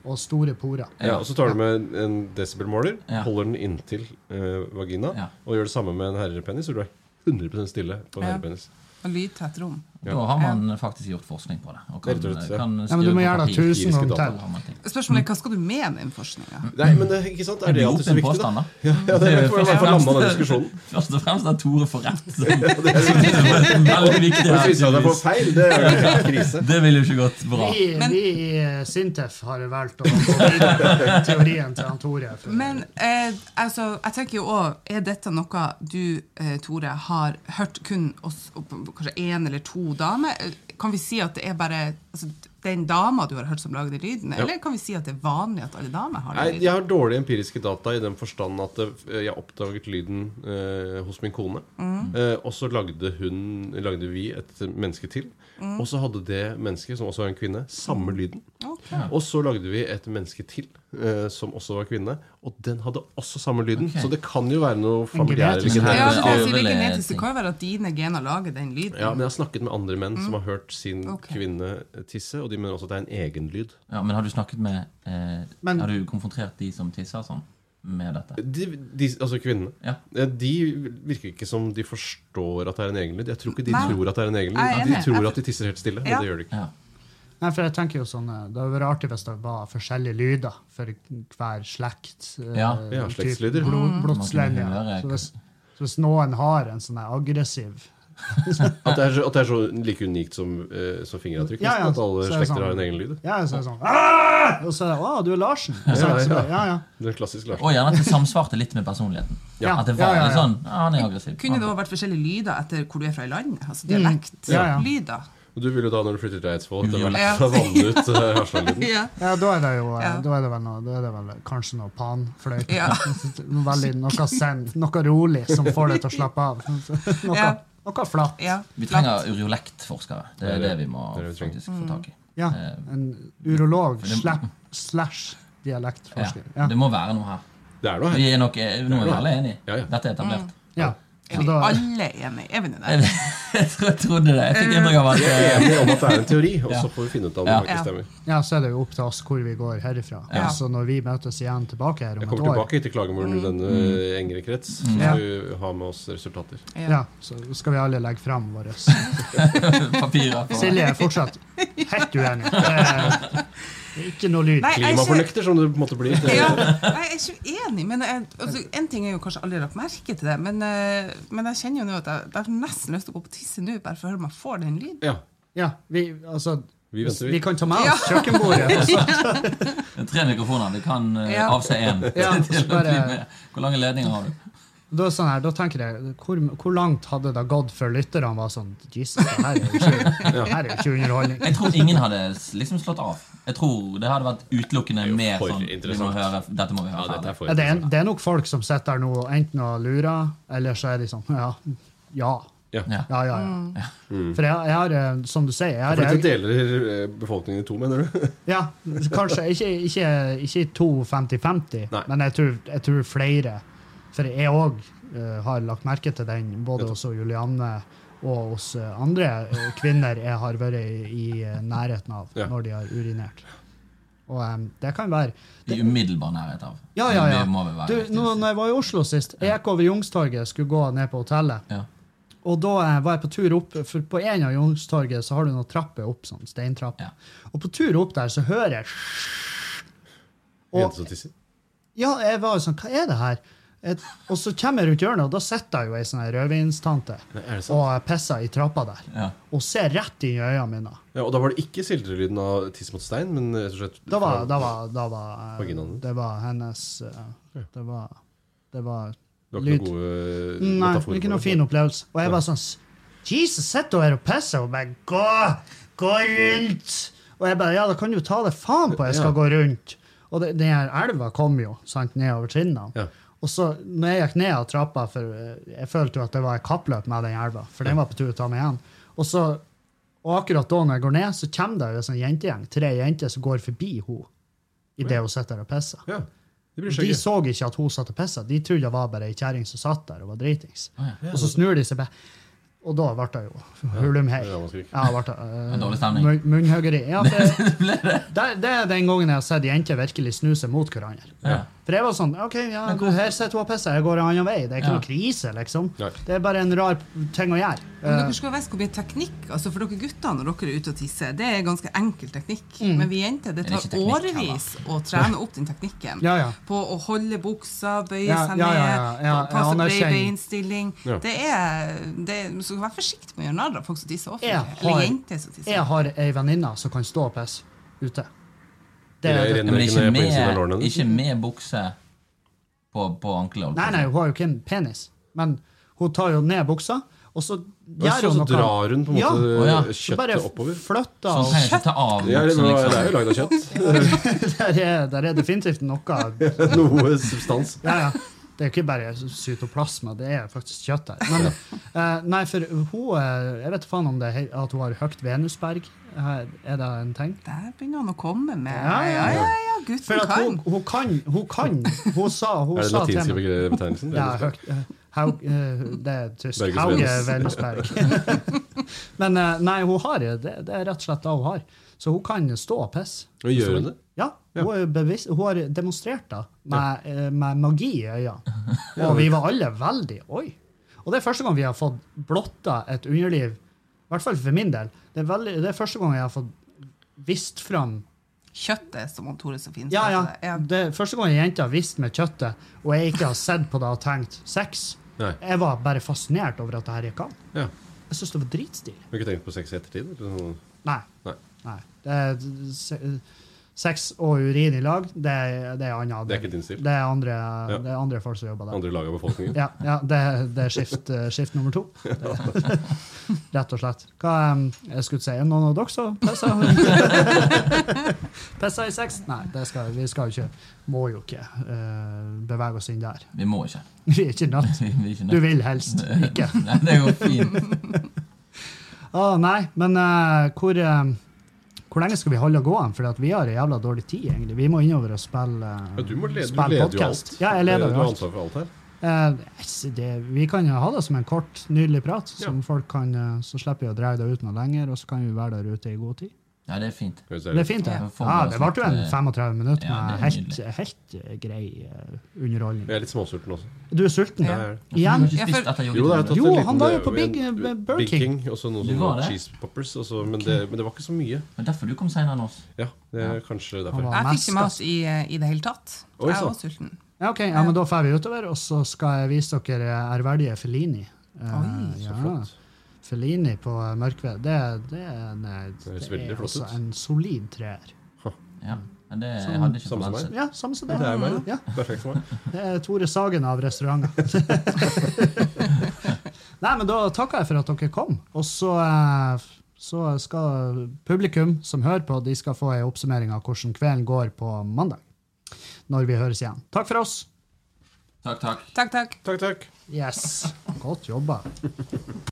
A: og store porer.
C: sånt. Ja, og så tar du med en, en desibelmåler,
B: Ja.
C: holder den inntil eh, vagina,
B: Ja.
C: og gjør det samme med en herrepenis, så du er 100 stille på en
D: Ja.
C: herrepenis.
D: Og lydtett rom?
B: Da har man faktisk gjort forskning på det. Og kan,
C: Rett og slett, ja.
B: kan
A: Ja, men du
B: skrive
A: må
B: på
A: gjøre det
B: papir.
A: tusen
C: empiriske
A: ganger
C: data.
A: til.
B: Har man ting.
D: Spørsmålet er hva skal du med den forskninga?
C: Nei, men det, ikke sant? Er det
B: blir
C: alltid
B: opp
C: så
B: en
C: viktig,
B: påstand,
C: da?
B: da.
C: Ja, ja, det er for å få landa den diskusjonen.
B: Først og fremst at Tore får rett. Så Veldig viktig.
C: Hvis
B: her,
C: det viser seg at det er på
B: tydeligvis.
C: feil, det er jo helt krise.
B: Det ville jo ikke gått bra.
A: Vi, vi i eh, Sintef har valgt å gå videre med teorien til han Tore. for-
D: Men eh, altså, jeg tenker jo òg Er dette noe du, eh, Tore, har hørt kun oss, og på- kanskje én eller to damer? Eh, Kan vi si at det er bare altså, den dama du har hørt som lager den lyden? Eller kan vi si at det er vanlig at alle damer har
C: Nei,
D: den lyden?
C: jeg har dårlige empiriske data i den forstand at eh, jeg oppdaget lyden eh, hos min kone. Eh, og så lagde, hun, lagde vi et menneske til. Og så hadde det mennesket, som også var en kvinne, samme lyden.
D: Ok.
C: Og så lagde vi et menneske til, eh, som også var kvinne. Og den hadde også samme lyden.
B: Ok.
C: Så det kan jo være noe familiære
A: genetisk-
C: eller
D: Ja, men
B: Nei, det er
D: altså, det
B: vel,
D: er
B: eh,
D: genetisk. Det
B: ting.
D: kan jo være at dine gener lager den lyden.
C: Ja, men jeg har snakket med andre menn som har hørt sin
D: Ok.
C: kvinne tisse, og de mener også at det er en egen lyd.
B: Ja, men har du snakket med eh,
A: Men-
B: Har du konfrontert de som tisser og sånn, med dette?
C: De, de, altså kvinnene.
B: Ja.
C: Eh, De virker ikke som de forstår at det er en egen lyd. Jeg tror ikke de
D: Nei.
C: tror at det er en egen
D: Jeg er
C: lyd. De
D: enig.
C: tror
D: Jeg-
C: at de tisser helt stille,
D: Ja.
C: men det gjør de ikke.
B: ja.
A: Nei, for jeg tenker jo sånn, eh, Det hadde vært artig hvis det var forskjellige lyder for hver slekt. eh,
B: Ja.
C: Ja,
A: typ
C: slektslyder.
A: Blod, blodslinje.
B: Man kunne høre
A: Så, hvis- så hvis noen har en sånn her aggressiv
C: At det er, så- at det er så like unikt som, eh, som fingeravtrykk.
A: Ja, ja,
C: nesten, At alle
A: så er det
C: slekter
A: sånn.
C: har en egen lyd.
A: Ja, så er det sånn «Ah!» Og så er det 'Å, du er Larsen'. Og så, er det sånn, ja, ja.
C: Det er klassisk Larsen.
B: Og gjerne at det samsvarte litt med personligheten.
A: Ja.
B: At det var
A: Ja, ja,
B: litt
A: ja.
B: sånn ja, Han er aggressiv.
D: Kunne det òg vært forskjellige lyder etter hvor du er fra i landet? Altså dialektlyder?
A: Ja, ja.
C: Og du vil jo da, når du flytter til Eidsvoll, etter
B: Uviolett.
C: hvert vanne ut eh, Harstad-lyden.
D: Ja.
A: ja, da er det jo eh,
D: Ja.
A: da er det vel, noe, da er det vel kanskje noe panfløyte.
D: Ja.
A: Veldig Noe send, noe rolig som får deg til å slappe av. Noe,
D: Ja.
A: noe flatt.
D: Ja.
B: Vi trenger uriolektforskere. Det er det vi må
C: Det er det vi trenger.
B: faktisk
A: Mm.
B: få tak i.
A: Ja,
B: Eh,
A: en urolog
B: det-
A: slapp- slash dialektforsker.
B: Ja.
A: Ja.
B: Det må være noe her.
C: Det er noe her.
B: Vi er nok eh, nå er vi alle enige.
C: Ja, ja.
B: Dette er etablert.
A: Ja.
D: Er
A: Så
D: vi
A: da,
D: alle enige? Er vi det der?
B: Jeg, tror- jeg trodde det. Jeg fikk inntrykk av at eh,
C: Enig om at det er en teori, og
B: Ja.
C: så får vi finne ut om det
B: Ja.
C: faktisk
D: Ja.
C: stemmer.
A: ja, så er det jo opp til oss hvor vi går herifra.
D: Ja.
A: Så når vi møtes igjen tilbake her om
C: Jeg
A: et
C: kommer
A: år,
C: tilbake til klagemuren i denne eh, engere krets, så
A: Mm. Ja.
C: skal vi ha med oss resultater.
A: ja, så skal vi alle legge fram våre
B: eh, papirer på
A: Silje er fortsatt helt uenig. Det er ikke noe lyd.
D: Nei, jeg er ikke-
C: Klimafornekter, som det på en måte blir. Det,
D: Ja, nei, jeg er ikke uenig, men jeg, altså, en ting er jo kanskje aldri lagt merke til det, men, eh, men jeg kjenner jo nå at jeg, jeg har nesten lyst til å gå på tisse nå, bare for å høre om jeg får den lyden.
C: ja.
A: Ja, vi, altså,
C: Vi venter, vi.
A: vi kan ta med oss kjøkkenbordet. og så-
B: tre mikrofoner. Vi kan eh,
D: Ja.
B: avse én.
A: Ja,
B: til å
A: bare-
B: bli med. Hvor lange ledninger har du?
A: Da, er det sånn her, da tenker jeg, hvor, hvor langt hadde det gått før lytterne var sånn Jesus, det her er jo ikke, her er jo ikke underholdning.
B: Jeg tror ingen hadde s- liksom slått av. Jeg tror Det hadde vært utelukkende
C: jo
B: mer
C: for
B: sånn vi må
C: interessant.
B: høre, Dette må vi
C: Ja,
B: høre
C: dette
B: ferdig.
C: er for
A: Ja, det, er, det er nok folk som sitter der nå og enten og lurer, eller så er de sånn Ja. Ja,
C: Ja.
B: Ja.
A: ja, ja. ja. For jeg, jeg har, eh, som du sier jeg har,
C: For dette
A: jeg,
C: deler eh, befolkningen i to, mener du?
A: ja, Kanskje ikke, ikke, ikke i to 50-50,
C: Nei.
A: men jeg tror, jeg tror flere For jeg òg har lagt merke til den, både hos Julianne og hos eh, andre eh, kvinner jeg har vært i, i eh, nærheten av
C: Ja.
A: når de har urinert. Og eh, det kan være
B: I umiddelbar nærhet av.
A: Ja, ja, ja.
B: Det må vi være
A: Du,
B: riktig.
A: nå, når jeg var i Oslo sist, jeg gikk over Jungstorget, skulle gå ned på hotellet.
B: Ja.
A: Og da eh, var jeg på tur opp, for på en av Youngstorget så har du noen trapper opp, sånn steintrapper.
B: Ja.
A: Og på tur opp der så hører jeg
C: Jente som tisser.
A: Ja, jeg var jo sånn, hva er det her? Et, og så kommer jeg rundt hjørnet, og da sitter jeg jo ei sånn her rødvinstante
C: er det sant?
A: og jeg pisser i trappa der.
B: Ja.
A: Og ser rett inn i øynene mine.
C: Ja, og da var det ikke sildrelyden av tiss mot stein, men rett og slett
A: Da var, da var, da var eh,
C: Vaginaen din?
A: Det var hennes eh, Det var, det var
C: Det var ikke
A: lyd.
C: noen gode
A: Nei,
C: metaforer
A: ikke
C: på
A: noen
C: det.
A: fin opplevelse. Og jeg bare sånn Jesus, sitter du her og pisser og bare gå, gå rundt? Og jeg bare Ja, da kan du ta det faen på jeg skal
C: Ja.
A: gå rundt. Og det, den her elva kom jo sant, nedover trinnene.
C: Ja.
A: Og så, når jeg gikk ned av trappa, for eh, jeg følte jo at det var et kappløp med den elva, for den var på tur til å ta meg igjen, og så og akkurat da når jeg går ned, så kommer det jo en sånn jentegjeng, tre jenter som går forbi henne idet hun sitter der og pisser.
C: Ja, de blir
A: De
C: skjegge.
A: så ikke at hun satt og pissa. De trodde det var bare ei kjerring som satt der og var dritings.
B: Å, ja.
A: Og så snur de seg bare. Og da ble det jo hulum hei.
C: det var vanskelig.
A: Ja, ble det, eh,
B: En dårlig stemning.
A: mun- Munnhuggeri. Ja, det, det, det er den gangen jeg har sett jenter virkelig snu seg mot hverandre.
B: Ja.
A: For jeg var sånn OK, ja,
B: Men
A: du, her sitter hun og pisser, jeg går en annen vei. Det er ikke
B: Ja.
A: noe krise, liksom.
C: Nei.
A: Det er bare en rar ting å gjøre. Eh,
D: Men dere skal jo visst hvor mye teknikk altså For dere gutter når dere er ute og tisser, det er ganske enkel teknikk.
A: Mm.
D: Men vi jenter, det
B: Det er
D: tar
B: ikke teknikk,
D: årevis å trene opp den teknikken.
A: Ja, ja.
D: På å holde buksa, bøye
A: Ja,
D: seg
A: ja,
D: ned,
A: ja, ja, ja,
D: passe
A: ja,
D: på
A: anerkjenn.
D: breiebeinstilling
C: Ja.
D: Det er det, er- Så vær forsiktig med å gjøre narr av folk som tisser offentlig.
A: Jeg
D: Eller
A: har-
D: jenter som tisser.
A: Jeg har ei venninne som kan stå og pisse ute. Det
C: Jeg
A: er
C: er
A: det.
C: redd.
B: Men ikke
C: Ikke ned på innsiden av
B: med,
C: lårene.
B: ikke med bukse på, på ankelet. holdt
A: Nei,
B: jeg på å si.
A: nei, hun har jo ikke en penis, men hun tar jo ned buksa, og så
C: Og
A: gjør
C: så,
A: hun
C: så
A: noe.
C: drar hun på en måte
B: Å, ja.
A: Så bare
C: kjøttet oppover.
A: flytter
B: Sånn trenger
A: og
B: ikke ta av
C: Ja, det,
B: buksen,
C: var, det er
B: liksom.
C: jo lagd av kjøtt.
A: der er, der er definitivt noe ja,
C: Noe substans.
A: ja. Det er jo ikke bare cytoplasma, det er faktisk kjøtt der. Men, eh, nei, for hun eh, Jeg vet faen om det er he- at hun har høyt venusberg. Her, er det en ting?
D: Der begynner han å komme med
A: Ja,
D: Ja,
A: ja,
D: ja,
A: ja.
D: ja, gutten
A: For at hun,
D: kan.
A: hun kan Hun kan Hun sa, hun
C: Er det den
A: sa
C: latinske begre- betegnelsen?
A: Ja, høgt, eh, Haug, eh, det er tysk.
C: Berges
A: Hauge
C: Venus.
A: Venusberg. Men eh, nei, hun har det. Det det er rett og slett det hun har. Så hun kan stå og pisse.
C: Og gjør hun det?
A: Ja, hun, er bevisst, hun har demonstrert det med, eh, med magi i øynene. Og vi var alle veldig Oi! Og det er første gang vi har fått blotta et underliv, i hvert fall for min del. Det er, veldig, det er første gang jeg har fått vist fram
D: Kjøttet, som han Tore så fint
A: ja, ja.
D: kalte det. Ja.
A: Det er første gang ei jente har visst med kjøttet, og jeg ikke har sett på det og tenkt sex.
C: Nei.
A: Jeg var bare fascinert over at det her gikk an.
C: Ja.
A: Jeg syns det var dritstilig.
C: Har ikke tenkt på sex i ettertid? Eller Sånn noe?
A: Nei.
C: Nei.
A: Nei. Det er se- sex og urin i lag, det er, det er annen
C: Det er ikke din stil.
A: Det er andre, det er andre folk som jobber der.
C: Andre lag av befolkningen?
A: Ja, ja det, det er skift, eh, skift nummer to. Det- Rett og slett. Hva em, jeg skulle si? Er det noen av dere som pisser? Pisser i sex? Nei, det skal, vi skal jo ikke Må jo ikke eh, bevege oss inn der.
B: Vi må ikke.
A: Vi er ikke nødt.
B: Vi, vi er ikke
A: Du
B: nødt.
A: vil helst ikke.
B: Nei, det går fint.
A: Å nei, men eh, hvor, eh, hvor lenge skal vi holde gåen? For at vi har en jævla dårlig tid, egentlig. Vi må innover og spille, eh,
C: Ja, du, må lede, du
A: spille
C: leder jo
A: podcast.
C: alt.
A: Ja, jeg leder
C: du
A: jo
C: har
A: alt.
C: ansvar for alt her.
A: Eh, yes, det, vi kan jo ha det som en kort, nydelig prat, som
C: Ja.
A: folk kan, eh, så slipper vi å dreie det ut noe lenger, og så kan vi være der ute i god tid.
B: Ja, det er fint.
C: Hvis
A: Det er fint, det.
B: Ja, får
A: Ja,
B: vi
A: det
B: da
A: ble jo en
B: snart, eh,
A: 35 minutter
B: ja,
A: med
B: det er
A: helt, helt eh, grei eh, underholdning.
C: Jeg er litt småsulten også.
A: Du er sulten?
C: Ja, jeg er.
A: Igjen?
B: Du
D: Ja,
B: har ikke
D: for-
B: spist etter
C: Jo, da, jeg
B: yoghurt?
C: har tatt
A: Jo,
C: en liten-
A: han var jo på
C: en-
A: Big- eh, Burger King.
C: og så noen
B: Du var
C: sånne
B: det?
C: cheese poppers. Og så, men, det, men det var ikke så mye.
B: Det er derfor du kom senere enn oss.
C: Ja, det er kanskje
A: Han
C: derfor.
A: var
D: Jeg fikk
A: mest,
D: ikke mat i, eh, i det hele tatt.
C: Oi,
D: Jeg
C: sant.
D: var sulten.
A: Ja, ok, ja, men Da drar vi utover, og så skal jeg vise dere ærverdige Felini. Eh,
D: Oi,
A: ja.
C: Så flott.
A: Felini på eh, Mørkved. Det, det, er en, eh,
C: høres
A: det
C: veldig
A: er
C: flott
A: altså
C: ut.
A: en solid treer.
B: Ja. Men det jeg hadde ikke
C: Samme som
B: forventet.
A: Ja, samme som det.
C: Ja, det Sånn- er meg,
A: Ja.
C: da. Perfekt for meg.
A: Det er Tore Sagen av restauranten. Nei, men da takker jeg for at dere kom. Og så, eh, så skal publikum som hører på, de skal få en oppsummering av hvordan kvelden går på mandag. Når vi høres igjen. Takk for oss.
B: Takk, takk.
D: Takk, takk.
C: Takk, takk.
A: Yes. Godt jobba.